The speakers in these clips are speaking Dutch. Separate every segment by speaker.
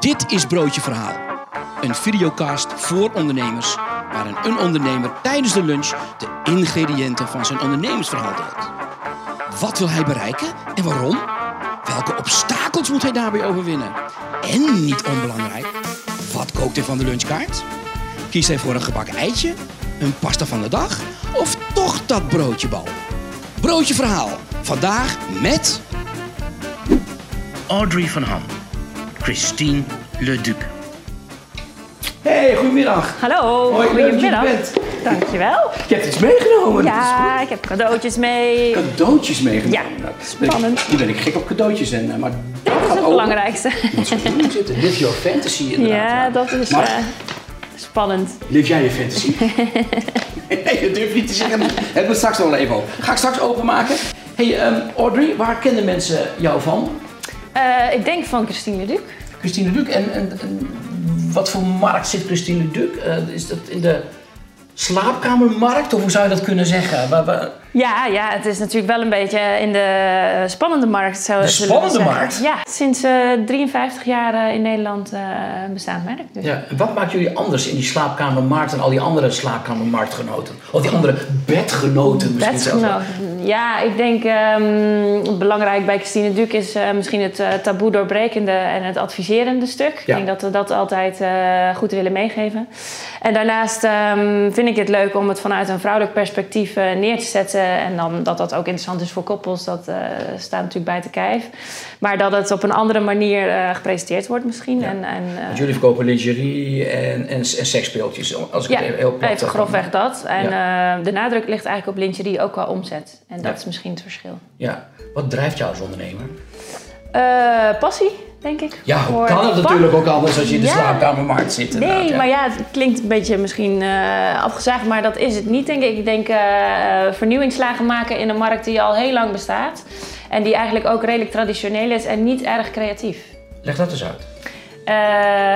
Speaker 1: Dit is Broodje Verhaal. Een videocast voor ondernemers, waarin een ondernemer tijdens de lunch de ingrediënten van zijn ondernemersverhaal deelt. Wat wil hij bereiken en waarom? Welke obstakels moet hij daarbij overwinnen? En niet onbelangrijk, wat kookt hij van de lunchkaart? Kiest hij voor een gebakken eitje, een pasta van de dag of toch dat broodjebal? Broodje Verhaal, vandaag met... Audrey van Ham. Christine Leduc. Hey, goedemiddag.
Speaker 2: Hallo,
Speaker 1: Hoi, leuk dat je er
Speaker 2: goedemiddag. Dankjewel.
Speaker 1: Je hebt iets meegenomen.
Speaker 2: Ja, ik heb cadeautjes mee.
Speaker 1: Dat is goed. Cadeautjes meegenomen.
Speaker 2: Ja,
Speaker 1: Nou, ben ik-
Speaker 2: spannend.
Speaker 1: Hier ben ik gek op cadeautjes. En, eh, maar dat
Speaker 2: Dat is
Speaker 1: gaat
Speaker 2: het
Speaker 1: open.
Speaker 2: belangrijkste.
Speaker 1: Moet zo goed zitten. Live your fantasy inderdaad.
Speaker 2: Ja, dat is
Speaker 1: Maar-
Speaker 2: eh, spannend.
Speaker 1: Leef jij je fantasy? nee, dat durf ik niet te zeggen. Het moet straks nog wel even open. Ga ik straks openmaken. hey, ehm, Audrey, waar kennen mensen jou van?
Speaker 2: Eh, ik denk van Christine Duc.
Speaker 1: Christine Leduc. En, en, en wat voor markt zit Christine Leduc? Eh, is dat in de slaapkamermarkt? Of hoe zou je dat kunnen zeggen? Waar- waar-
Speaker 2: Ja, ja, het is natuurlijk wel een beetje in de eh, spannende markt. Zo
Speaker 1: De
Speaker 2: zullen we
Speaker 1: spannende
Speaker 2: zeggen.
Speaker 1: markt?
Speaker 2: Ja, sinds eh, 53 jaar eh, in Nederland eh, bestaat het merk. Dus.
Speaker 1: Ja, en wat maakt jullie anders in die slaapkamermarkt en al die andere slaapkamermarktgenoten? Of die andere bedgenoten misschien zelfs? wel?
Speaker 2: Bedgenoten. Ja, ik denk ehm, belangrijk bij Christine Duc is eh, misschien het eh, taboe doorbrekende en het adviserende stuk.
Speaker 1: Ja.
Speaker 2: Ik denk dat we dat altijd eh, goed willen meegeven. En daarnaast ehm, vind ik het leuk om het vanuit een vrouwelijk perspectief eh, neer te zetten. En dan dat dat ook interessant is voor koppels, dat eh, staat natuurlijk bij te kijf. Maar dat het op een andere manier eh, gepresenteerd wordt misschien.
Speaker 1: Ja. Dus
Speaker 2: En, en, eh,
Speaker 1: Want jullie verkopen lingerie en, en, en seksspeeltjes, als ik
Speaker 2: ja,
Speaker 1: het even heel plat
Speaker 2: even
Speaker 1: zeg.
Speaker 2: grofweg dat. En eh, de nadruk ligt eigenlijk op lingerie, ook qua omzet. En dat
Speaker 1: Ja.
Speaker 2: is misschien het verschil.
Speaker 1: Ja. Wat drijft jou als ondernemer?
Speaker 2: Eh, passie, denk ik.
Speaker 1: Ja, hoe
Speaker 2: Voor
Speaker 1: kan
Speaker 2: het
Speaker 1: het
Speaker 2: vak.
Speaker 1: natuurlijk ook anders als je in de
Speaker 2: Ja.
Speaker 1: slaapkamermarkt zit? inderdaad,
Speaker 2: Nee,
Speaker 1: ja.
Speaker 2: maar ja, het klinkt een beetje misschien eh, afgezaagd, maar dat is het niet, denk ik. Ik denk eh, eh, vernieuwingslagen maken in een markt die al heel lang bestaat. En die eigenlijk ook redelijk traditioneel is en niet erg creatief.
Speaker 1: Leg dat eens uit.
Speaker 2: Eh,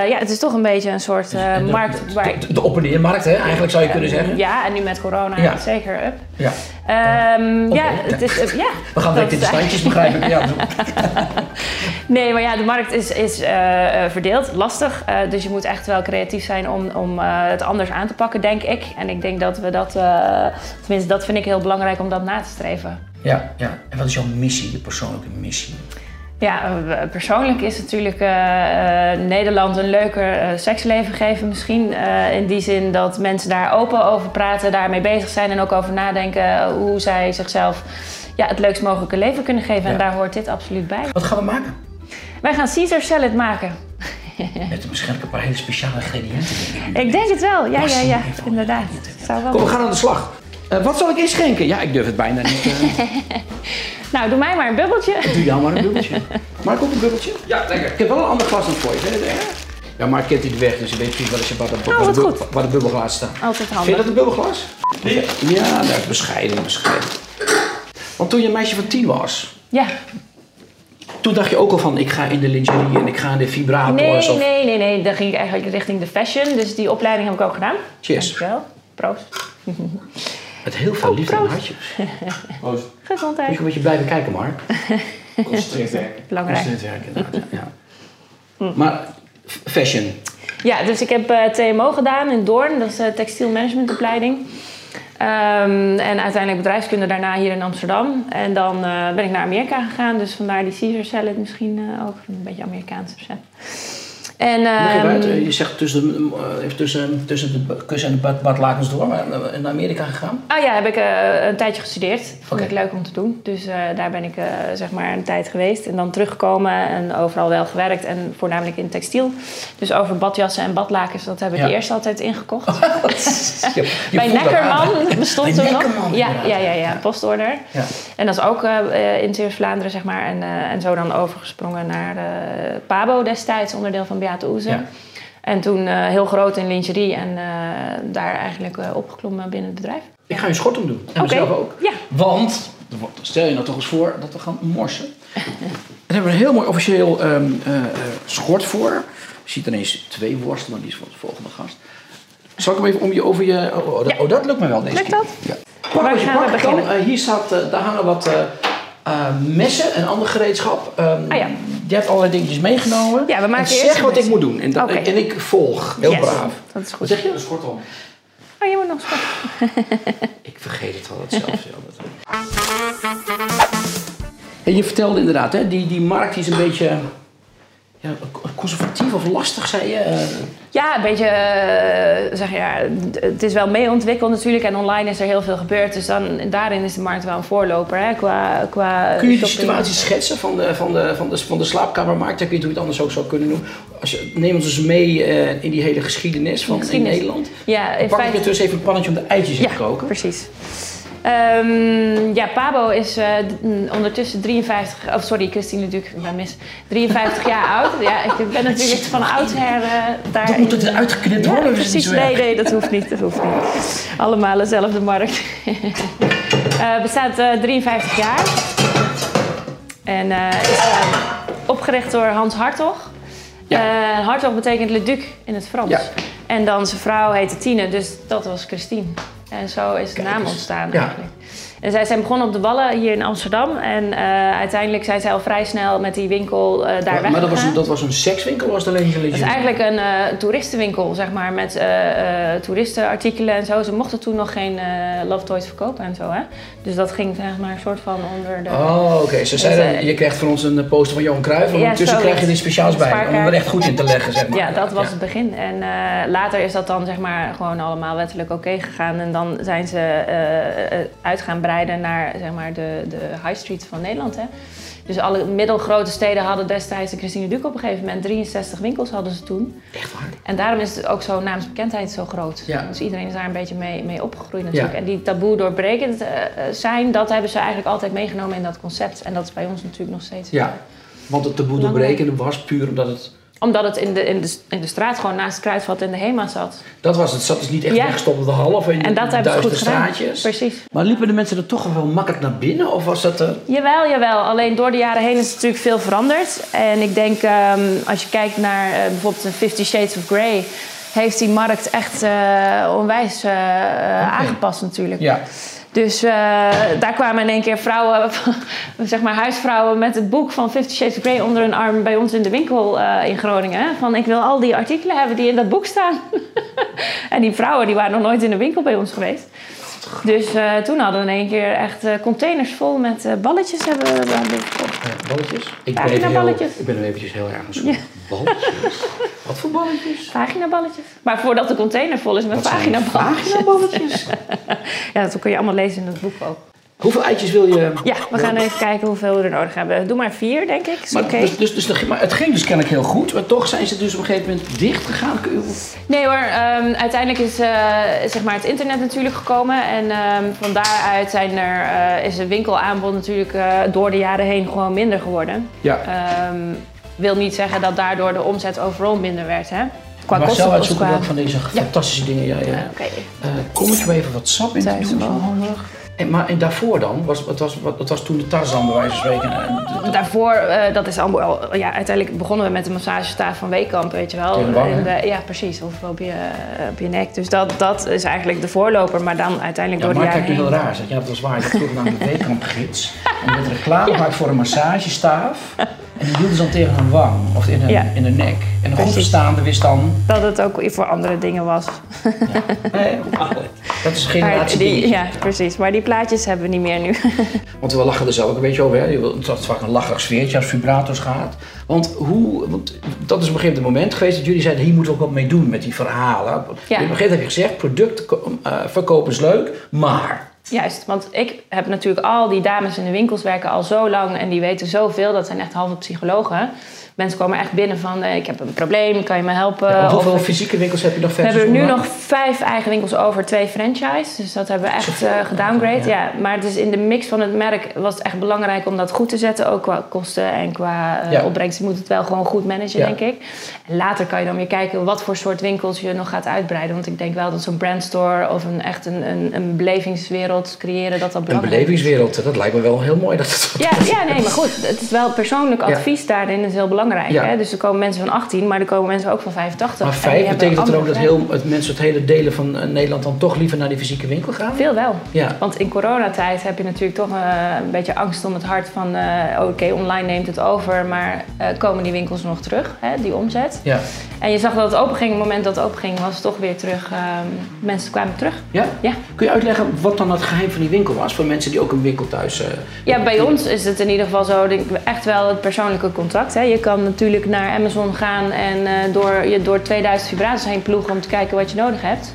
Speaker 2: ja, het is toch een beetje een soort eh,
Speaker 1: De-
Speaker 2: markt waar...
Speaker 1: De, de op- en neermarkt, hè, eigenlijk zou je kunnen zeggen.
Speaker 2: Ja, en nu met corona
Speaker 1: Ja.
Speaker 2: zeker up.
Speaker 1: Ja.
Speaker 2: Ehm, ja,
Speaker 1: Oké.
Speaker 2: het is... eh, ja,
Speaker 1: We gaan
Speaker 2: dat
Speaker 1: direct in de
Speaker 2: is-
Speaker 1: standjes, begrijp ik. Ja,
Speaker 2: Nee, maar ja, de markt is, is eh, eh, verdeeld, lastig. Eh, dus je moet echt wel creatief zijn om, om eh, het anders aan te pakken, denk ik. En ik denk dat we dat, eh, tenminste, dat vind ik heel belangrijk om dat na te streven.
Speaker 1: ja, ja. En wat is jouw missie, je persoonlijke missie?
Speaker 2: Ja, eh, persoonlijk is natuurlijk eh, eh, Nederland een leuker eh, seksleven geven misschien. Eh, in die zin dat mensen daar open over praten, daarmee bezig zijn en ook over nadenken hoe zij zichzelf ja, het leukst mogelijke leven kunnen geven.
Speaker 1: Ja.
Speaker 2: En daar hoort dit absoluut bij.
Speaker 1: Wat gaan we maken?
Speaker 2: Wij gaan Caesar salad maken.
Speaker 1: Met waarschijnlijk een paar hele speciale ingrediënten. denk ik.
Speaker 2: Ik denk het wel, ja, ja, ja,
Speaker 1: Passie.
Speaker 2: inderdaad. Zou wel.
Speaker 1: Kom, we gaan aan de slag. Eh, wat zal ik inschenken? Ja, ik durf het bijna niet. eh.
Speaker 2: Nou, doe mij maar een bubbeltje.
Speaker 1: Doe jou maar een bubbeltje. Mark, ook een bubbeltje? Ja, lekker. Ik heb wel een ander glas dan voor je. Vind je het erg? Ja, Mark kent die weg, dus je weet precies waar de, waar de, waar
Speaker 2: Oh, wat
Speaker 1: de,
Speaker 2: goed.
Speaker 1: waar de bubbelglas staat.
Speaker 2: Altijd handig.
Speaker 1: Vind je dat een bubbelglas? Ja, ja dat is bescheiden, bescheiden. Want toen je een meisje van tien was,
Speaker 2: Ja.
Speaker 1: toen dacht je ook al van ik ga in de lingerie en ik ga in de vibrators.
Speaker 2: Nee,
Speaker 1: of...
Speaker 2: nee, nee, nee. Dan ging ik eigenlijk richting de fashion. Dus die opleiding heb ik ook gedaan.
Speaker 1: Cheers.
Speaker 2: Dankjewel. Proost.
Speaker 1: Met heel veel liefde en
Speaker 2: Oh, proost.
Speaker 1: hartjes.
Speaker 3: Proost.
Speaker 1: Moet je
Speaker 2: Gezondheid.
Speaker 1: een beetje blijven kijken, Mark.
Speaker 3: Concentreerd werken.
Speaker 2: Belangrijk. Hm.
Speaker 1: Dit werk inderdaad, ja. Maar f- fashion.
Speaker 2: Ja, dus ik heb eh, TMO gedaan in Doorn. Dat is de textiel managementopleiding. Ehm, en uiteindelijk bedrijfskunde daarna hier in Amsterdam. En dan eh, ben ik naar Amerika gegaan. Dus vandaar die Caesar salad misschien eh, ook. Een beetje Amerikaans recept. En,
Speaker 1: Nee,
Speaker 2: ehm,
Speaker 1: Bart, je zegt tussen, eh, even tussen, tussen de kussen en de bad- badlakens door, maar naar- naar Amerika gegaan.
Speaker 2: Ah ja, heb ik eh, een tijdje gestudeerd. Vond
Speaker 1: Oké.
Speaker 2: ik leuk om te doen. Dus eh, daar ben ik eh, zeg maar een tijd geweest. En dan teruggekomen en overal wel gewerkt. En voornamelijk in textiel. Dus over badjassen en badlakens, dat heb ik
Speaker 1: Ja.
Speaker 2: eerst altijd ingekocht.
Speaker 1: Je- je
Speaker 2: Bij
Speaker 1: voelt dat aan.
Speaker 2: Neckerman bestond
Speaker 1: Bij
Speaker 2: toen nog.
Speaker 1: Neckerman,
Speaker 2: Ja, ja,
Speaker 1: inderdaad.
Speaker 2: ja, ja, postorder.
Speaker 1: Ja.
Speaker 2: En dat is ook eh, eh, in Zeeuws-Vlaanderen, zeg maar. En, eh, en zo dan overgesprongen naar eh, Pabo destijds, onderdeel van Beate Oeze.
Speaker 1: Ja.
Speaker 2: En toen eh, heel groot in lingerie en eh, daar eigenlijk eh, opgeklommen binnen het bedrijf.
Speaker 1: Ik ga je schort om doen. En
Speaker 2: Oké.
Speaker 1: mezelf ook.
Speaker 2: Ja.
Speaker 1: Want, stel je nou toch eens voor dat we gaan morsen. Daar hebben we een heel mooi officieel ehm, eh, eh, schort voor. Je ziet ineens twee worsten, maar die is voor de volgende gast. Zal ik hem even om je over je... Oh, oh, dat, oh, dat lukt me wel deze
Speaker 2: Lukt
Speaker 1: keer.
Speaker 2: dat?
Speaker 1: Ja. Pak
Speaker 2: Waar
Speaker 1: wat je
Speaker 2: gaan we
Speaker 1: pakken kan.
Speaker 2: beginnen?
Speaker 1: Eh, hier staat, eh, daar hangen wat eh, eh, messen en ander gereedschap. Ehm,
Speaker 2: Ah ja.
Speaker 4: jij hebt allerlei dingetjes meegenomen.
Speaker 2: Ja, we maken
Speaker 4: en
Speaker 2: eerst
Speaker 4: zeg
Speaker 2: een
Speaker 4: wat ik
Speaker 2: lijst.
Speaker 4: moet doen. En, dat,
Speaker 2: Oké.
Speaker 4: en ik volg. Heel
Speaker 2: Yes,
Speaker 4: braaf.
Speaker 2: Dat is
Speaker 4: Wat
Speaker 2: goed.
Speaker 4: zeg je?
Speaker 3: Dus kortom.
Speaker 2: Oh, je moet nog sporten.
Speaker 4: Ik vergeet het altijd zelf. ja, dat- en je vertelde inderdaad, hè, die, die markt die is een beetje ja, conservatief of lastig, zei je. Eh,
Speaker 2: Ja, een beetje, eh, zeg je, ja, d- het is wel mee ontwikkeld natuurlijk. En online is er heel veel gebeurd. Dus dan, daarin is de markt wel een voorloper. Hè, qua, qua
Speaker 4: Kun je de
Speaker 2: shopping.
Speaker 4: situatie schetsen van de, van de, van de, van de slaapkamermarkt? Dat kun je natuurlijk anders ook zo kunnen doen. Als je, neem ons eens mee eh, in die hele geschiedenis van
Speaker 2: Geschiedenis.
Speaker 4: in Nederland.
Speaker 2: Ja, in
Speaker 4: Pak ik
Speaker 2: feite-
Speaker 4: er dus even een pannetje om de eitjes in
Speaker 2: ja,
Speaker 4: te koken.
Speaker 2: precies. Ehm, ja, Pabo is eh, d- mm, ondertussen 53... Oh, sorry, Christine Duc, ik ben mis. 53 jaar oud. Ja, ik ben natuurlijk van oudsher eh daar...
Speaker 4: Dat moet het eruit geknipt worden.
Speaker 2: Ja,
Speaker 4: dat is niet
Speaker 2: precies.
Speaker 4: zo erg.
Speaker 2: Nee, nee, dat hoeft niet. Dat hoeft niet. Allemaal dezelfde markt. Eh, bestaat eh, 53 jaar. En eh, is eh, opgericht door Hans Hartog.
Speaker 4: Ja.
Speaker 2: Eh, Hartog betekent Le Duc in het Frans.
Speaker 4: Ja.
Speaker 2: En dan zijn vrouw heette Tine, dus dat was Christine. En zo is de
Speaker 4: Kijk
Speaker 2: naam
Speaker 4: eens.
Speaker 2: ontstaan
Speaker 4: Ja.
Speaker 2: eigenlijk. En zij zijn begonnen op de Wallen hier in Amsterdam. En eh, uiteindelijk zijn zij al vrij snel met die winkel eh, daar
Speaker 4: Maar,
Speaker 2: weg.
Speaker 4: maar dat, was een, dat was een sekswinkel, was het alleen een
Speaker 2: Het is eigenlijk een eh, toeristenwinkel, zeg maar, met eh, eh, toeristenartikelen en zo. Ze mochten toen nog geen eh, Love Toys verkopen en zo, hè. Dus dat ging, zeg maar, een soort van onder de...
Speaker 4: Oh, oké. Ze zeiden,
Speaker 2: eh,
Speaker 4: je krijgt van ons een poster van Johan Cruijff. En
Speaker 2: Ja,
Speaker 4: ondertussen
Speaker 2: zoiets.
Speaker 4: krijg je er iets speciaals bij. Om
Speaker 2: Spaarkaart.
Speaker 4: er echt goed in te leggen, zeg maar.
Speaker 2: Ja, dat was het begin. En eh, later is dat dan, zeg maar, gewoon allemaal wettelijk oké gegaan. En dan zijn ze eh, eh, uit gaan breiden naar, zeg maar, de, de high street van Nederland, hè. Dus alle middelgrote steden hadden destijds de Christine Duc op een gegeven moment. 63 winkels hadden ze toen.
Speaker 4: Echt waar.
Speaker 2: En daarom is het ook zo naamsbekendheid zo groot.
Speaker 4: Ja.
Speaker 2: Dus iedereen is daar een beetje mee, mee opgegroeid natuurlijk.
Speaker 4: Ja.
Speaker 2: En die taboe doorbrekend eh, eh, zijn, dat hebben ze eigenlijk altijd meegenomen in dat concept. En dat is bij ons natuurlijk nog steeds.
Speaker 4: Ja. Want het taboe
Speaker 2: Belangrijk.
Speaker 4: doorbreken was puur omdat het...
Speaker 2: Omdat het in de, in, de, in de straat gewoon naast het kruidvat in de HEMA zat.
Speaker 4: Dat was het. Zat dus niet echt
Speaker 2: Ja.
Speaker 4: weggestopt op de hal of in
Speaker 2: En dat hebben ze
Speaker 4: duizenden
Speaker 2: goed gedaan.
Speaker 4: straatjes.
Speaker 2: Precies.
Speaker 4: Maar liepen de mensen er toch wel makkelijk naar binnen? Of was dat... eh,
Speaker 2: Jawel, jawel. Alleen door de jaren heen is het natuurlijk veel veranderd. En ik denk, ehm, als je kijkt naar eh, bijvoorbeeld de Fifty Shades of Grey... heeft die markt echt eh, onwijs eh, eh, aangepast natuurlijk.
Speaker 4: Ja.
Speaker 2: Dus eh, daar kwamen in één keer vrouwen, zeg maar huisvrouwen met het boek van Fifty Shades of Grey onder hun arm bij ons in de winkel eh, in Groningen. hè. Van ik wil al die artikelen hebben die in dat boek staan. en die vrouwen die waren nog nooit in de winkel bij ons geweest. Dus eh, toen hadden we in één keer echt eh, containers vol met eh, balletjes hebben we Dus, oh, daar gekocht.
Speaker 4: eh, Balletjes? Ik
Speaker 2: Pagina
Speaker 4: even heel-
Speaker 2: balletjes.
Speaker 4: ik ben er eventjes heel erg aan zoek.
Speaker 2: Ja.
Speaker 4: Balletjes? Wat voor balletjes?
Speaker 2: Vaginaballetjes. Maar voordat de container vol is met
Speaker 4: Wat zijn
Speaker 2: vaginaballetjes.
Speaker 4: Vaginaballetjes?
Speaker 2: Ja, dat kun je allemaal lezen in dat boek ook.
Speaker 4: Hoeveel eitjes wil je...
Speaker 2: Ja, we gaan even kijken hoeveel we er nodig hebben. Doe maar vier, denk ik. Is
Speaker 4: Maar,
Speaker 2: oké.
Speaker 4: dus, dus, dus, de- maar het ging dus kennelijk heel goed. Maar toch zijn ze dus op een gegeven moment dicht gegaan. Kun je-
Speaker 2: Nee hoor, ehm, uiteindelijk is eh, zeg maar het internet natuurlijk gekomen. En ehm, van daaruit zijn er, eh, is het winkelaanbod natuurlijk eh, door de jaren heen gewoon minder geworden.
Speaker 4: Ja.
Speaker 2: Ehm, wil niet zeggen dat daardoor de omzet overal minder werd, hè? Qua
Speaker 4: maar
Speaker 2: kosten
Speaker 4: zelf
Speaker 2: of
Speaker 4: uitzoeken
Speaker 2: qua...
Speaker 4: welke van deze fantastische dingen jij... eh,
Speaker 2: Ja, Oké.
Speaker 4: Eh, kom ik er even wat sap in te
Speaker 2: Thuis
Speaker 4: doen?
Speaker 2: wel.
Speaker 4: En, maar en daarvoor dan? Was, het, was, wat- het was toen de Tarzan bij wijze van spreken.
Speaker 2: Ah,
Speaker 4: En de- de-
Speaker 2: Daarvoor, eh, dat is allemaal, wel- ja, uiteindelijk begonnen we met de massagestaaf van Weekamp, weet je wel.
Speaker 4: In de wang,
Speaker 2: En de- ja, precies, of op je, op je nek. Dus dat, dat is eigenlijk de voorloper, maar dan uiteindelijk
Speaker 4: ja,
Speaker 2: door
Speaker 4: maar
Speaker 2: de
Speaker 4: kijk
Speaker 2: jaren
Speaker 4: nu
Speaker 2: heen.
Speaker 4: heel raar. Zeg, ja, dat was waar. Ik had vroeger naar de weekampgids. En met reclame maakte voor een massagestaaf. En die hielden ze dan tegen een wang of in een,
Speaker 2: Ja.
Speaker 4: in een nek. En de
Speaker 2: Precies.
Speaker 4: godverstaande wist dan...
Speaker 2: Dat het ook voor andere dingen was.
Speaker 4: Nee, dat is een
Speaker 2: Maar
Speaker 4: generatie
Speaker 2: die,
Speaker 4: dingetje.
Speaker 2: ja, precies. Maar die plaatjes hebben we niet meer nu.
Speaker 4: Want we lachen er zelf ook een beetje over. Hè? Je wil- Dat is vaak een lacherig sfeertje als vibrato's gaat. Want, hoe, want dat is op een gegeven moment, moment geweest dat jullie zeiden... hier moeten we ook wat mee doen met die verhalen. Op een gegeven moment heb je gezegd, product ko- eh, verkopen is leuk, maar...
Speaker 2: Juist, want ik heb natuurlijk al die dames in de winkels werken al zo lang en die weten zoveel. Dat zijn echt halve psychologen. Mensen komen echt binnen van: eh, ik heb een probleem, kan je me helpen?
Speaker 4: Ja, want
Speaker 2: Eh, Of-
Speaker 4: hoeveel fysieke winkels heb je nog
Speaker 2: we
Speaker 4: verder?
Speaker 2: hebben er nu nog vijf eigen winkels over, twee franchise. Dus dat hebben we echt eh gedowngrade. Ja. maar het is in de mix van het merk was het echt belangrijk om dat goed te zetten. Ook qua kosten en qua eh
Speaker 4: Ja.
Speaker 2: opbrengst. Je moet het wel gewoon goed managen,
Speaker 4: Ja.
Speaker 2: denk ik. En later kan je dan weer kijken wat voor soort winkels je nog gaat uitbreiden. Want ik denk wel dat zo'n brandstore of een, echt een, een, een belevingswereld wereld creëren dat dat
Speaker 4: Een
Speaker 2: belangrijk is.
Speaker 4: belevingswereld, dat lijkt me wel heel mooi. Dat het...
Speaker 2: Ja, ja, nee, maar goed. Het is wel persoonlijk
Speaker 4: Ja.
Speaker 2: advies daarin is heel belangrijk.
Speaker 4: Ja.
Speaker 2: Hè? Dus er komen mensen van 18, maar er komen mensen ook van 85.
Speaker 4: Maar
Speaker 2: En die
Speaker 4: vijf,
Speaker 2: hebben
Speaker 4: betekent dat dan ook dat
Speaker 2: andere
Speaker 4: heel, het mensen het hele delen van eh, Nederland dan toch liever naar die fysieke winkel gaan?
Speaker 2: Veel wel.
Speaker 4: Ja.
Speaker 2: Want in coronatijd heb je natuurlijk toch eh, een beetje angst om het hart van... eh, Oké, online neemt het over, maar eh, komen die winkels nog terug, hè, die omzet?
Speaker 4: Ja.
Speaker 2: En je zag dat het openging. Op het moment dat het openging was het toch weer terug... eh, mensen kwamen terug.
Speaker 4: ja?
Speaker 2: Ja.
Speaker 4: Kun je uitleggen wat dan het geheim van die winkel was voor mensen die ook een winkel thuis eh,
Speaker 2: Ja, bij ons is het in ieder geval zo, denk ik, echt wel het persoonlijke contact. Hè. Je kan natuurlijk naar Amazon gaan en eh, door, je door 2000 vibraties heen ploegen om te kijken wat je nodig hebt.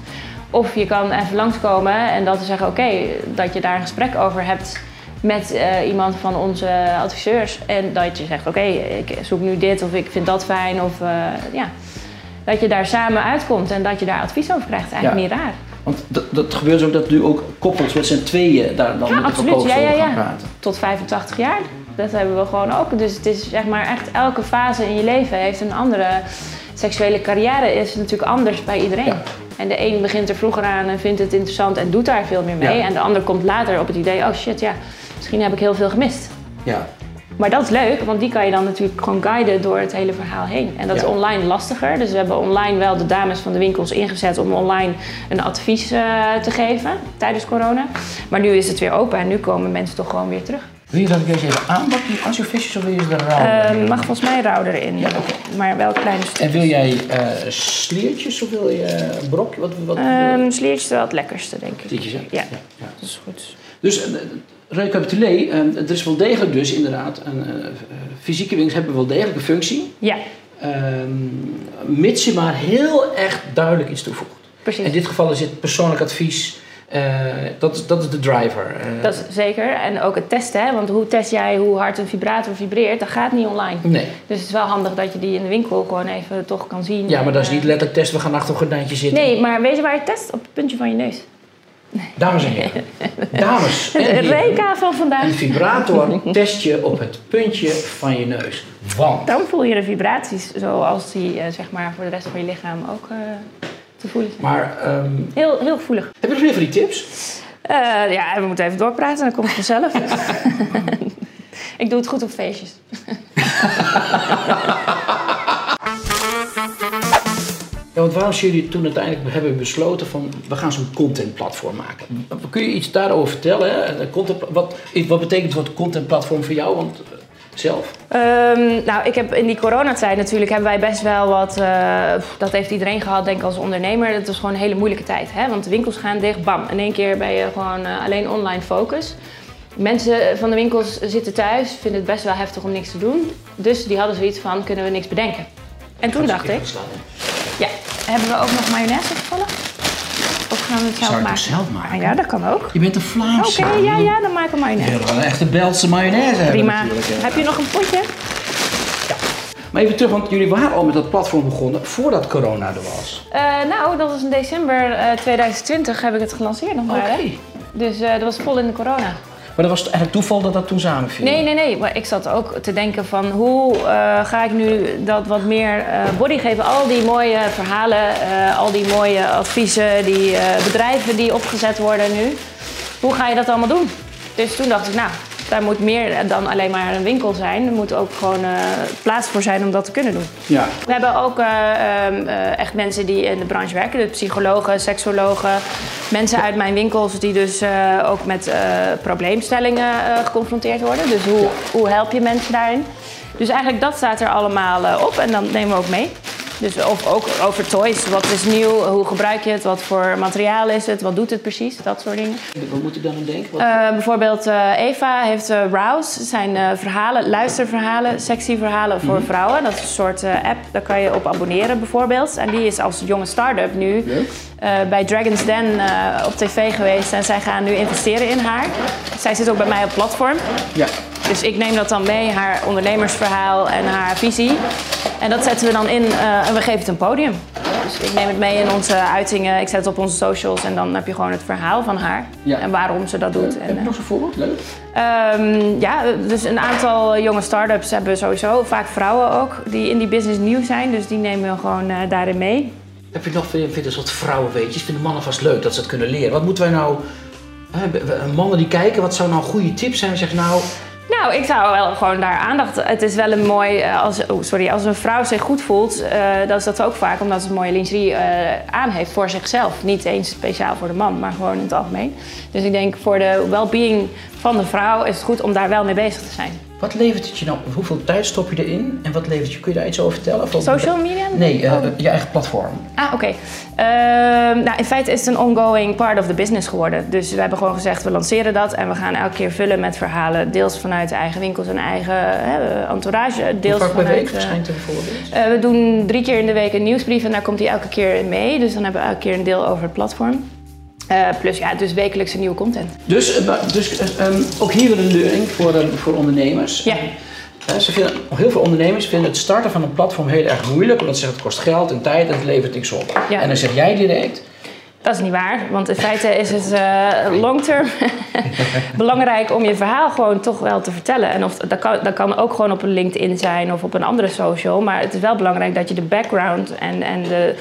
Speaker 2: Of je kan even langskomen en dan te zeggen, oké, dat je daar een gesprek over hebt met eh, iemand van onze adviseurs. En dat je zegt, oké, ik zoek nu dit of ik vind dat fijn. Of eh, ja, dat je daar samen uitkomt en dat je daar advies over krijgt. Eigenlijk
Speaker 4: Ja.
Speaker 2: niet raar.
Speaker 4: Want dat, dat gebeurt dus ook dat nu ook koppels met z'n tweeën daar dan
Speaker 2: Ja,
Speaker 4: met de
Speaker 2: absoluut.
Speaker 4: verkoopster
Speaker 2: Ja, ja,
Speaker 4: over
Speaker 2: ja.
Speaker 4: gaan praten.
Speaker 2: tot 85 jaar. Dat hebben we gewoon ook. Dus het is zeg maar echt elke fase in je leven heeft een andere. Seksuele carrière is natuurlijk anders bij iedereen.
Speaker 4: Ja.
Speaker 2: En de een begint er vroeger aan en vindt het interessant en doet daar veel meer mee.
Speaker 4: Ja.
Speaker 2: En de ander komt later op het idee: oh shit, ja, misschien heb ik heel veel gemist.
Speaker 4: Ja.
Speaker 2: Maar dat is leuk, want die kan je dan natuurlijk gewoon guiden door het hele verhaal heen. En dat
Speaker 4: Ja.
Speaker 2: is online lastiger. Dus we hebben online wel de dames van de winkels ingezet om online een advies eh, te geven tijdens corona. Maar nu is het weer open en nu komen mensen toch gewoon weer terug.
Speaker 4: Wil je dat ik deze even aanbak, die ansjovisjes, of wil je ze er
Speaker 2: Eh,
Speaker 4: rauw? in?
Speaker 2: mag volgens mij rauw erin. Maar wel kleine stukjes.
Speaker 4: En wil jij eh, sliertjes of wil je eh, brok? Wat, wat,
Speaker 2: Ehm sliertjes is wel het lekkerste, denk ik.
Speaker 4: Sliertjes, hè?
Speaker 2: Ja,
Speaker 4: ja.
Speaker 2: dat is goed.
Speaker 4: Dus eh, recapitulé, eh, er is wel degelijk dus inderdaad, een, eh, eh, fysieke winkels hebben wel degelijk een functie,
Speaker 2: Ja,
Speaker 4: ehm, mits je maar heel echt duidelijk iets toevoegt.
Speaker 2: precies.
Speaker 4: In dit geval is het persoonlijk advies, eh, dat, is- dat is de driver. eh.
Speaker 2: Dat is zeker. En ook het testen, hè? want hoe test jij hoe hard een vibrator vibreert? Dat gaat niet online.
Speaker 4: Nee,
Speaker 2: Dus het is wel handig dat je die in de winkel gewoon even toch kan zien.
Speaker 4: ja, maar dat is
Speaker 2: En,
Speaker 4: niet
Speaker 2: eh,
Speaker 4: letterlijk test, we gaan achter een gordijntje zitten.
Speaker 2: Nee, maar weet je waar je test? Op het puntje van je neus.
Speaker 4: Dames en heren, dames en
Speaker 2: Het
Speaker 4: heren.
Speaker 2: Reka van
Speaker 4: Een
Speaker 2: vandaag.
Speaker 4: vibrator test je op het puntje van je neus. Want
Speaker 2: Dan voel je de vibraties zoals die eh, zeg maar voor de rest van je lichaam ook eh, te voelen zijn.
Speaker 4: Maar ehm,
Speaker 2: Heel, heel gevoelig.
Speaker 4: heb je nog meer van die tips?
Speaker 2: Eh, ja, we moeten even doorpraten, dan komt het vanzelf. ik doe het goed op feestjes.
Speaker 4: Ja, want waarom jullie toen uiteindelijk hebben besloten van we gaan zo'n contentplatform maken? Kun je iets daarover vertellen? hè? Een content- wat, wat betekent het woord contentplatform voor jou? Want eh, zelf?
Speaker 2: Ehm, nou, ik heb in die coronatijd natuurlijk hebben wij best wel wat. eh, pff, dat heeft iedereen gehad, denk ik, als ondernemer. Dat was gewoon een hele moeilijke tijd. Hè? Want de winkels gaan dicht, bam. In één keer ben je gewoon eh, alleen online focus. Mensen van de winkels zitten thuis, vinden het best wel heftig om niks te doen. Dus die hadden zoiets van: kunnen we niks bedenken? En toen dacht ik: ja, hebben we ook nog mayonaise gevallen? Of gaan we het zelf
Speaker 4: Zou je
Speaker 2: maken?
Speaker 4: het zelf maken?
Speaker 2: Ah, ja, dat kan ook.
Speaker 4: Je bent een Vlaamse.
Speaker 2: Oké, ja, ja, dan maken we
Speaker 4: Je
Speaker 2: mayonaise.
Speaker 4: wil wel een echte Belgische mayonaise hebben
Speaker 2: Prima.
Speaker 4: natuurlijk, hè.
Speaker 2: Heb je nog een potje?
Speaker 4: Maar even terug, want jullie waren al met dat platform begonnen voordat corona er was.
Speaker 2: Eh, nou, dat was in december eh, 2020 heb ik het gelanceerd nog maar. Hè? Dus eh, dat was vol in de corona.
Speaker 4: Maar dat was eigenlijk toeval dat dat toen samenviel?
Speaker 2: Nee, nee, nee. Maar ik zat ook te denken van hoe eh, ga ik nu dat wat meer eh, body geven. Al die mooie verhalen, eh, al die mooie adviezen, die eh, bedrijven die opgezet worden nu. Hoe ga je dat allemaal doen? Dus toen dacht ik, nou, daar moet meer dan alleen maar een winkel zijn. Er moet ook gewoon eh, plaats voor zijn om dat te kunnen doen.
Speaker 4: Ja.
Speaker 2: We hebben ook eh, ehm, eh, echt mensen die in de branche werken. Dus psychologen, seksologen. Mensen uit mijn winkels die dus eh, ook met eh, probleemstellingen eh, geconfronteerd worden. Dus hoe, hoe help je mensen daarin? Dus eigenlijk dat staat er allemaal eh, op en dan nemen we ook mee. Dus of ook over toys. Wat is nieuw? Hoe gebruik je het? Wat voor materiaal is het? Wat doet het precies? Dat soort dingen.
Speaker 4: Wat moet ik dan aan denken? Wat-
Speaker 2: Eh, bijvoorbeeld eh, Eva heeft eh, Rouse. Dat zijn eh, verhalen, luisterverhalen, sexyverhalen
Speaker 4: Mhm.
Speaker 2: voor vrouwen. Dat is een soort eh, app, daar kan je op abonneren bijvoorbeeld. En die is als jonge start-up nu eh, bij Dragon's Den eh, op tv geweest. En zij gaan nu investeren in haar. Zij zit ook bij mij op platform.
Speaker 4: Ja.
Speaker 2: Dus ik neem dat dan mee, haar ondernemersverhaal en haar visie. En dat zetten we dan in eh, en we geven het een podium. Dus ik neem het mee in onze uitingen, ik zet het op onze socials en dan heb je gewoon het verhaal van haar.
Speaker 4: Ja.
Speaker 2: En waarom ze dat doet. En,
Speaker 4: Heb je
Speaker 2: eh,
Speaker 4: nog zo'n voorbeeld? Leuk.
Speaker 2: Ehm, ja, dus een aantal jonge start-ups hebben sowieso, vaak vrouwen ook, die in die business nieuw zijn. Dus die nemen we gewoon eh, daarin mee.
Speaker 4: Heb je nog vind je- vind je dat soort vrouwenweetjes? Vinden mannen vast leuk dat ze dat kunnen leren? Wat moeten wij nou Hè, we- we- Mannen die kijken, wat zou nou een goede tip zijn? Zeg nou,
Speaker 2: Nou, ik zou wel gewoon daar aandacht. Het is wel een mooi. eh, Als, oh, sorry, als een vrouw zich goed voelt, eh, dan is dat ook vaak omdat ze een mooie lingerie eh, aan heeft voor zichzelf. Niet eens speciaal voor de man, maar gewoon in het algemeen. Dus ik denk voor de well-being van de vrouw is het goed om daar wel mee bezig te zijn.
Speaker 4: wat levert het je nou? Hoeveel tijd stop je erin? En wat levert je? Kun je daar iets over vertellen? Of-
Speaker 2: Social media?
Speaker 4: Nee, eh,
Speaker 2: Oh.
Speaker 4: je eigen platform.
Speaker 2: Ah, oké. Ehm, nou, in feite is het een ongoing part of the business geworden. Dus we hebben gewoon gezegd, we lanceren dat en we gaan elke keer vullen met verhalen. Deels vanuit de eigen winkels en eigen hè, entourage, deels
Speaker 4: Hoe vaak per
Speaker 2: vanuit...
Speaker 4: week
Speaker 2: eh,
Speaker 4: verschijnt er bijvoorbeeld?
Speaker 2: eh, we doen drie keer in de week een nieuwsbrief en daar komt hij elke keer in mee. Dus dan hebben we elke keer een deel over het platform. Eh, plus ja, dus wekelijkse nieuwe content.
Speaker 4: Dus, eh, maar- dus eh, ehm, ook hier weer een leuring voor, eh, voor ondernemers.
Speaker 2: Ja.
Speaker 4: Eh, Ze vinden, heel veel ondernemers vinden het starten van een platform heel erg moeilijk, omdat ze zeggen het kost geld en tijd en het levert niks op.
Speaker 2: Ja.
Speaker 4: En dan zeg jij direct,
Speaker 2: Dat is niet waar, want in feite is het eh long term belangrijk om je verhaal gewoon toch wel te vertellen. En of, dat, kan, dat kan ook gewoon op een LinkedIn zijn of op een andere social. Maar het is wel belangrijk dat je de background en, en de,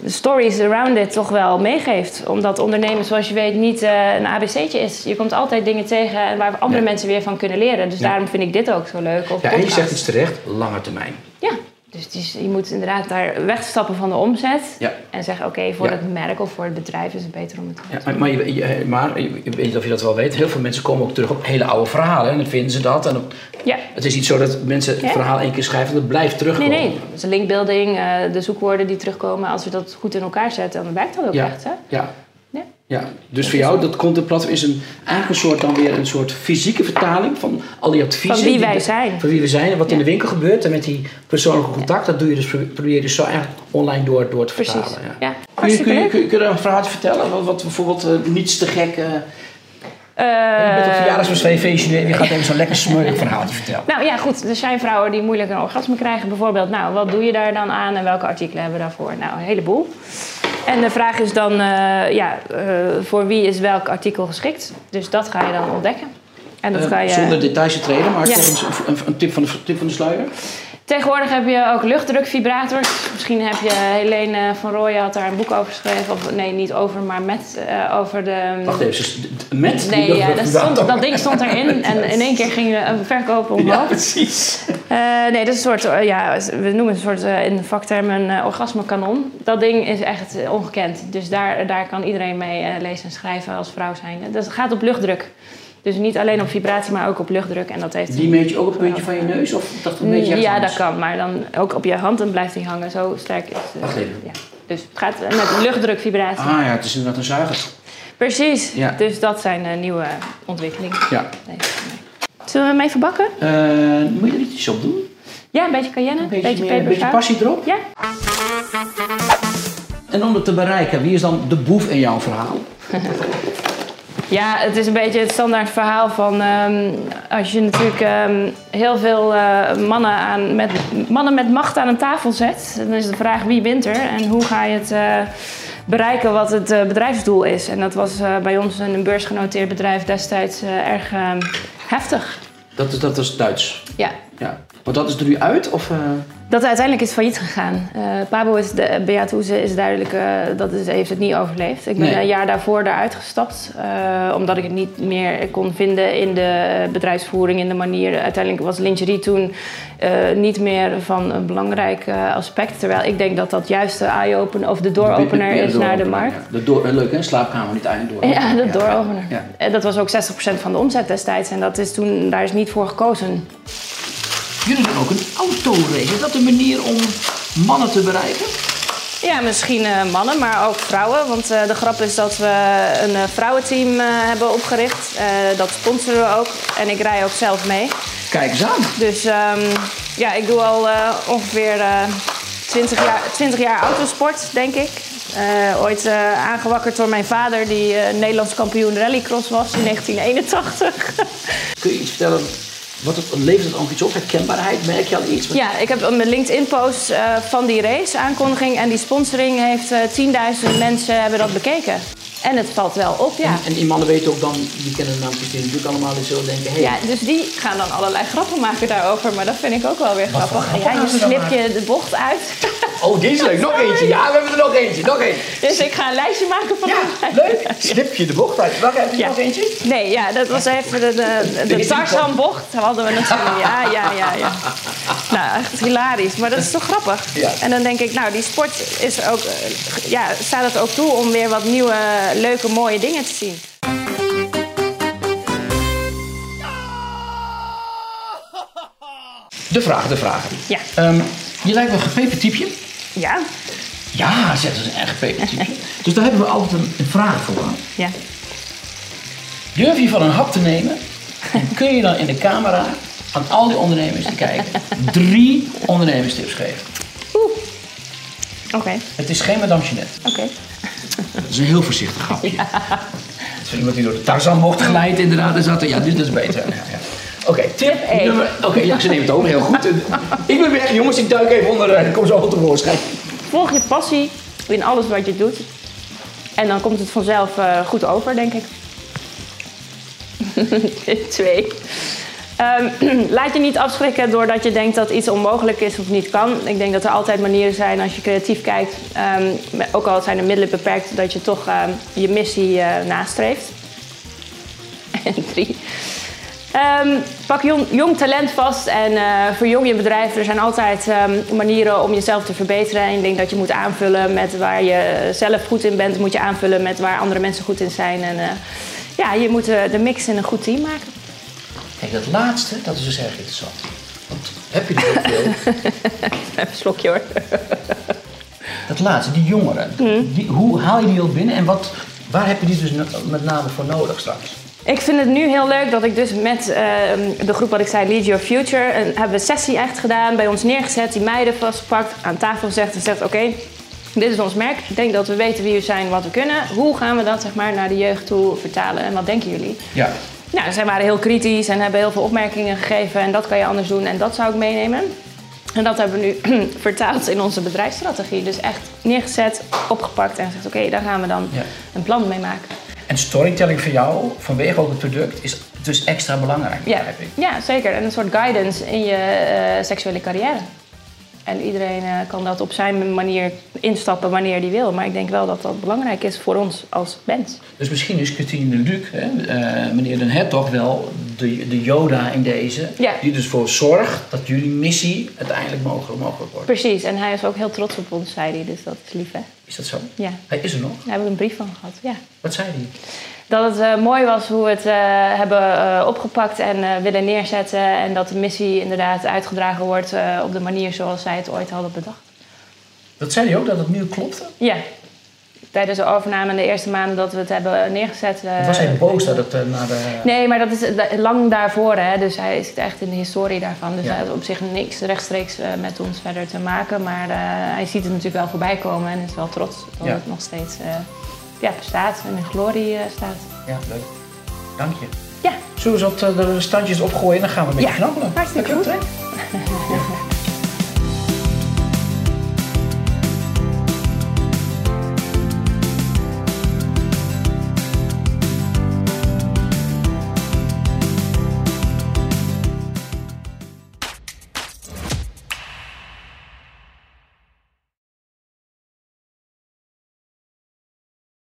Speaker 2: de stories around it toch wel meegeeft. Omdat ondernemen, zoals je weet, niet eh, een ABC'tje is. Je komt altijd dingen tegen en waar andere
Speaker 4: Ja.
Speaker 2: mensen weer van kunnen leren. Dus
Speaker 4: Ja.
Speaker 2: daarom vind ik dit ook zo leuk.
Speaker 4: ja, en
Speaker 2: Of
Speaker 4: je
Speaker 2: podcasts.
Speaker 4: zegt iets terecht, lange termijn.
Speaker 2: Ja, dus het is- je moet inderdaad daar wegstappen van de omzet.
Speaker 4: Ja.
Speaker 2: En zeggen, oké, voor
Speaker 4: Ja.
Speaker 2: het merk of voor het bedrijf is het beter om het te doen.
Speaker 4: Ja, maar, maar, je, je- maar je- ik weet niet of je dat wel weet, heel veel mensen komen ook terug op hele oude verhalen en dan vinden ze dat. En dan-
Speaker 2: Ja.
Speaker 4: het is niet zo dat mensen het
Speaker 2: Ja.
Speaker 4: verhaal één keer schrijven en het blijft
Speaker 2: Nee,
Speaker 4: terugkomen.
Speaker 2: nee. Dus de linkbuilding, eh, de zoekwoorden die terugkomen. Als we dat goed in elkaar zetten, dan werkt dat ook
Speaker 4: Ja.
Speaker 2: echt, hè?
Speaker 4: Ja.
Speaker 2: Ja.
Speaker 4: Ja, dus voor jou, dat contentplatform is een, eigenlijk een soort, dan weer een soort fysieke vertaling van al die adviezen.
Speaker 2: Van wie
Speaker 4: die
Speaker 2: wij
Speaker 4: de-
Speaker 2: zijn.
Speaker 4: Van wie we zijn en wat in
Speaker 2: Ja.
Speaker 4: de winkel gebeurt. En met die persoonlijke contact, dat doe je dus, probeer je dus zo eigenlijk online door, door te vertalen.
Speaker 2: Precies. Ja,
Speaker 4: Ja. Kun je,
Speaker 2: hartstikke
Speaker 4: kun, je,
Speaker 2: leuk.
Speaker 4: kun, je, kun je daar een verhaaltje vertellen? Wat, wat bijvoorbeeld eh, niets te gek. eh je bent op
Speaker 2: Eh,
Speaker 4: verjaardagsfeestje en je gaat even zo'n lekker smeuïg verhaaltje vertellen.
Speaker 2: nou ja, goed. Er zijn vrouwen die moeilijk een orgasme krijgen, bijvoorbeeld. Nou, wat doe je daar dan aan en welke artikelen hebben we daarvoor? Nou, een heleboel. En de vraag is dan, eh, ja, eh, voor wie is welk artikel geschikt? Dus dat ga je dan ontdekken. En dat
Speaker 4: Eh,
Speaker 2: ga je...
Speaker 4: Zonder details te treden, maar
Speaker 2: Ja.
Speaker 4: toch een, een, een tip, van de, tip van de sluier.
Speaker 2: Tegenwoordig heb je ook luchtdrukvibrators. Misschien heb je Helene van Rooyen had daar een boek over geschreven. Of nee, niet over, maar met eh, over de.
Speaker 4: Wacht even, dus met die
Speaker 2: Nee, ja, dat,
Speaker 4: luchtdruk-
Speaker 2: stond, dat ding stond erin en in één keer ging een verkoop
Speaker 4: Ja,
Speaker 2: omhoog.
Speaker 4: precies.
Speaker 2: Eh, nee, dat is een soort, eh, ja, we noemen het een soort eh, in vaktermen een eh, orgasmekanon. Dat ding is echt eh, ongekend. Dus daar, daar kan iedereen mee eh, lezen en schrijven als vrouw zijn. Dat gaat op luchtdruk. Dus niet alleen op vibratie, maar ook op luchtdruk. En dat heeft
Speaker 4: Die meet je ook op het puntje van je neus? Of dat een beetje
Speaker 2: Mm, ja,
Speaker 4: ergens
Speaker 2: dat kan. Maar dan ook op je hand, dan blijft hij hangen. Zo sterk is het.
Speaker 4: Wacht even.
Speaker 2: Ja. Dus het gaat met luchtdrukvibratie.
Speaker 4: Ah ja, het is inderdaad een zuiger.
Speaker 2: Precies.
Speaker 4: Ja.
Speaker 2: Dus dat zijn eh, nieuwe ontwikkelingen.
Speaker 4: Ja.
Speaker 2: Nee, nee. Zullen we hem even bakken?
Speaker 4: Eh, moet je er iets op doen?
Speaker 2: Ja, een beetje cayenne, een beetje,
Speaker 4: meer- een beetje
Speaker 2: peperzout.
Speaker 4: passie erop.
Speaker 2: Ja.
Speaker 4: En om het te bereiken, wie is dan de boef in jouw verhaal?
Speaker 2: ja, het is een beetje het standaard verhaal van... ehm, als je natuurlijk ehm, heel veel eh, mannen, aan, met, mannen met macht aan een tafel zet... dan is de vraag wie wint er en hoe ga je het... eh, bereiken wat het eh, bedrijfsdoel is. En dat was eh, bij ons een beursgenoteerd bedrijf destijds eh, erg ehm, heftig.
Speaker 4: Dat is, dat is Duits.
Speaker 2: Ja,
Speaker 4: Ja. Want dat is er nu uit? Of, eh,
Speaker 2: Dat uiteindelijk is failliet gegaan. Eh, Pabo is de, Beat Hoeze is duidelijk, eh, dat is, heeft het niet overleefd. Ik ben
Speaker 4: Nee.
Speaker 2: een jaar daarvoor eruit gestapt, eh, omdat ik het niet meer kon vinden in de bedrijfsvoering, in de manier. Uiteindelijk was lingerie toen eh, niet meer van een belangrijk eh, aspect. Terwijl ik denk dat dat juist de eye-opener of de dooropener
Speaker 4: de- de-
Speaker 2: is naar de
Speaker 4: dooropener,
Speaker 2: markt.
Speaker 4: ja. De door, eh, leuk hè, slaapkamer niet eind door.
Speaker 2: Ja, dat dooropener.
Speaker 4: Ja.
Speaker 2: En Dat was ook 60% van de omzet destijds en dat is toen, daar is niet voor gekozen.
Speaker 4: Jullie doen ook een autorace. Is dat een manier om mannen te bereiken?
Speaker 2: Ja, misschien eh, mannen, maar ook vrouwen. Want eh, de grap is dat we een eh, vrouwenteam eh, hebben opgericht. Eh, dat sponsoren we ook. En ik rij ook zelf mee.
Speaker 4: Kijk eens aan.
Speaker 2: Dus ehm, ja, ik doe al eh, ongeveer eh 20, jaar, 20 jaar autosport, denk ik. Eh, ooit eh, aangewakkerd door mijn vader, die eh, Nederlands kampioen rallycross was in 1981.
Speaker 4: Kun je iets vertellen? Wat het, levert het ook iets op? Herkenbaarheid? Merk je al iets? Wat-
Speaker 2: Ja, ik heb mijn LinkedIn-post eh, van die race-aankondiging en die sponsoring heeft eh 10.000 mensen hebben dat bekeken. En het valt wel op, ja.
Speaker 4: En die mannen weten ook dan, die kennen de naam Christine natuurlijk allemaal, die zullen denken, hey,
Speaker 2: Ja, dus die gaan dan allerlei grappen maken daarover, maar dat vind ik ook wel weer grappig. Ja, je slip je de bocht uit.
Speaker 4: Oh, die is leuk. Nog eentje. Ja, we hebben er nog eentje. Nog eentje.
Speaker 2: Dus ik ga een lijstje maken van
Speaker 4: Ja, leuk. Slip je de bocht uit. Wacht, heb je
Speaker 2: Ja.
Speaker 4: nog eentje?
Speaker 2: Nee, ja, dat was even de, de, de,
Speaker 4: De
Speaker 2: Tarzan-bocht. Hadden we natuurlijk. Ja, ja, ja, ja. Nou, echt hilarisch. Maar dat is toch grappig?
Speaker 4: Ja.
Speaker 2: En dan denk ik, nou, die sport is ook, eh, ja, staat het ook toe om weer wat nieuwe, leuke, mooie dingen te zien.
Speaker 4: De vraag, de vraag.
Speaker 2: Ja.
Speaker 4: Ehm, je lijkt wel een gepeperd typeje.
Speaker 2: Ja,
Speaker 4: Ja, zeg, dat is een echt gepeperd typeje. dus daar hebben we altijd een, een vraag voor.
Speaker 2: ja.
Speaker 4: Durf je van een hap te nemen? En kun je dan in de camera aan al die ondernemers die kijken drie ondernemerstips geven?
Speaker 2: Oeh. Oké,
Speaker 4: Het is geen Madame Jeanette.
Speaker 2: oké.
Speaker 4: Dat is een heel voorzichtig hapje. Het is iemand die door de Tarzanbocht glijdt inderdaad en zat er, ja, dit is beter. Ja, ja. Oké, tip
Speaker 2: één.
Speaker 4: nummer... Oké, ja, ze neemt het over, heel goed. ik ben weg, jongens, ik duik even onder en ik kom zo wel tevoorschijn.
Speaker 2: Volg je passie in alles wat je doet. En dan komt het vanzelf eh, goed over, denk ik. Twee. Ehm, laat je niet afschrikken doordat je denkt dat iets onmogelijk is of niet kan. Ik denk dat er altijd manieren zijn als je creatief kijkt. ehm, me- ook al zijn de middelen beperkt, dat je toch ehm, je missie eh, nastreeft. En drie. Ehm, pak jong, jong talent vast en eh, verjong je bedrijf. Er zijn altijd ehm, manieren om jezelf te verbeteren. En ik denk dat je moet aanvullen met waar je eh, zelf goed in bent. Moet je aanvullen met waar andere mensen goed in zijn. En eh, ja, je moet eh, de mix in een goed team maken.
Speaker 4: Kijk, dat laatste, dat is dus erg interessant. Want heb je er ook veel?
Speaker 2: Even een slokje hoor.
Speaker 4: Dat laatste, die jongeren. Die, hoe haal je die ook binnen en wat, waar heb je die dus no- met name voor nodig straks?
Speaker 2: Ik vind het nu heel leuk dat ik dus met ehm, de groep wat ik zei, Lead Your Future, een, hebben we een sessie echt gedaan, bij ons neergezet, die meiden vastgepakt, aan tafel gezegd en zegt oké, dit is ons merk. Ik denk dat we weten wie we zijn, wat we kunnen. Hoe gaan we dat zeg maar naar de jeugd toe vertalen en wat denken jullie?
Speaker 4: Ja.
Speaker 2: Nou, zij waren heel kritisch en hebben heel veel opmerkingen gegeven en dat kan je anders doen en dat zou ik meenemen. En dat hebben we nu vertaald in onze bedrijfsstrategie. Dus echt neergezet, opgepakt en gezegd oké, daar gaan we dan
Speaker 4: Ja.
Speaker 2: een plan mee maken.
Speaker 4: En storytelling voor jou, vanwege ook het product, is dus extra belangrijk,
Speaker 2: Ja,
Speaker 4: begrijp ik.
Speaker 2: ja, zeker. En een soort guidance in je eh, seksuele carrière. En iedereen eh, kan dat op zijn manier instappen wanneer die wil. Maar ik denk wel dat dat belangrijk is voor ons als mens.
Speaker 4: Dus misschien is Christine de Luc, hè, eh, meneer Den Hertog, wel de, de Yoda in deze.
Speaker 2: Ja.
Speaker 4: Die dus voor zorgt dat jullie missie uiteindelijk mogelijk, mogelijk wordt.
Speaker 2: Precies. En hij is ook heel trots op ons, zei hij. Dus dat is lief, hè?
Speaker 4: Is dat zo?
Speaker 2: Ja.
Speaker 4: Hij is er nog.
Speaker 2: Daar hebben we een brief van gehad, ja.
Speaker 4: Wat zei hij?
Speaker 2: Dat het eh, mooi was hoe we het eh, hebben eh, opgepakt en eh, willen neerzetten. En dat de missie inderdaad uitgedragen wordt eh, op de manier zoals zij het ooit hadden bedacht.
Speaker 4: Dat zei hij ook, dat het nu klopte?
Speaker 2: Ja. Tijdens de overname en de eerste maanden dat we het hebben neergezet. eh,
Speaker 4: Het was hij boos dat het eh, naar de...
Speaker 2: Nee, maar dat is eh, da- lang daarvoor, hè. Dus hij zit echt in de historie daarvan. Dus
Speaker 4: Ja.
Speaker 2: hij had op zich niks rechtstreeks eh, met ons verder te maken. Maar eh, hij ziet het natuurlijk wel voorbij komen en is wel trots dat
Speaker 4: Ja.
Speaker 2: het nog steeds eh, ja, bestaat en in glorie eh, staat.
Speaker 4: Ja, leuk. Dank je.
Speaker 2: Ja,
Speaker 4: Zullen we eens wat eh, de standjes opgooien en dan gaan we een beetje
Speaker 2: Ja.
Speaker 4: knabbelen?
Speaker 2: hartstikke goed.
Speaker 4: Oké.